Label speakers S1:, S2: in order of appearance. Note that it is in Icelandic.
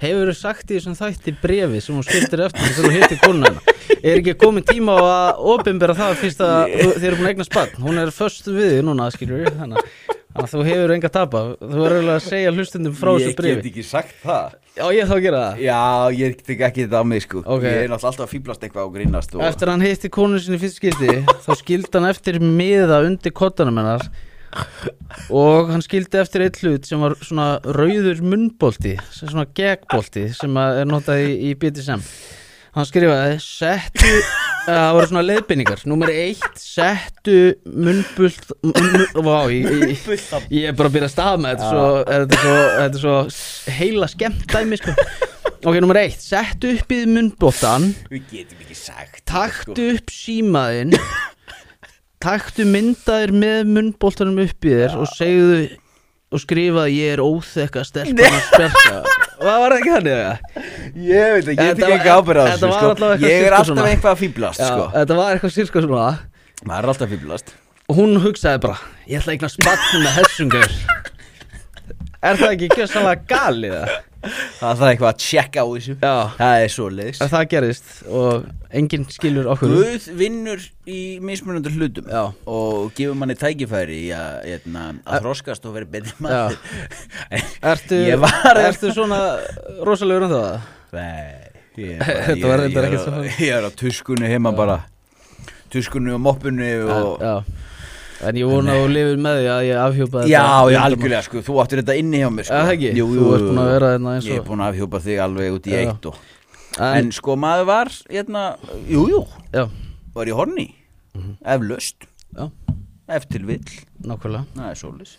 S1: Hefur þú sagt í þessum þætti brefi sem hún skildir eftir sem hún hittir konuna hérna? Er ekki komin tíma á að opinbera það fyrst að þú- þið eru búin að eigna spann Hún er först við þig núna skilur við Þannig að- þannig að þú hefur enga tapa Þú er eiginlega að segja hlustundum frá þessu
S2: Ég get
S1: brefi
S2: ekki sagt það
S1: Já ég þá að gera það
S2: Já, ég get ekki, ekki þetta á mig sko
S1: Ok.
S2: Ég er náttúrulega alltaf að fýblast eitthvað og grínast og...
S1: Eftir að hann hitti konu sinni í fyrst skildi þá skildi hann eftir miða undir kottanum hennar og hann skildi eftir eitt hlut sem var svona rauður munnbolti sem svona geggbolti sem að er notað í, í BDSM hann skrifaði settu eh, það voru svona leiðbynningar númer eitt settu munnbult mun, vá, ég, ég, ég er bara að byrja að staða með þetta er svo, þetta er svo, þetta er svo s- heila skemmt dæmi sko ok, númer eitt settu upp í munnboltan
S2: Við getum ekki sagt sko.
S1: Taktu upp símaðinn Taktu myndaðir með munnbóltanum upp í þér Og segðu Og skrifaði ég er óþekka stelpan að sperka Hvað var það ekki þannig það?
S2: Ég veit það, ég get
S1: Þetta
S2: ekki
S1: var-
S2: ekki ábyrða
S1: þetta
S2: þessu
S1: var
S2: sko
S1: allavega eitthvað
S2: Ég er
S1: sirkus
S2: alltaf
S1: svona.
S2: eitthvað að fýblast sko
S1: Þetta var eitthvað sirka svona
S2: Maður er alltaf að fýblast
S1: Og hún hugsaði bara Ég ætla að eigna spann með hessungur Er það ekki gjössalega galið það?
S2: Það þarf eitthvað að checka á þessu
S1: Já
S2: Það er svo leiðis
S1: En Það gerist og enginn skilur okkur
S2: Guð vinnur í mismunandi hlutum
S1: Já.
S2: og gefur manni tækifæri í að, hérna, að þroskast og vera betri maður
S1: Ertu,
S2: Ég var-
S1: ertu svona rosalegur um það?
S2: Nei, ég,
S1: Þetta var
S2: ég,
S1: reyndar
S2: ég, er
S1: ekkert
S2: á-
S1: svo.
S2: ég er á tuskunni heima bara Tuskunni og moppunni og
S1: Já En ég vona að þú lifir með því að ég afhjópa
S2: Já, ég algjörlega sko, þú áttir þetta inni hjá mér sko
S1: Já, það ekki?
S2: jú,
S1: Þú
S2: jú,
S1: ert búin að vera hérna eins
S2: Ég
S1: og-
S2: er búin að afhjópa þig alveg út í
S1: Já.
S2: eitt og
S1: En-
S2: En sko maður var, hérna, jú, jú,
S1: Já,
S2: var í horni Eflaust,
S1: Mhm. já,
S2: ef til vill
S1: nákvæmlega
S2: Það er sólis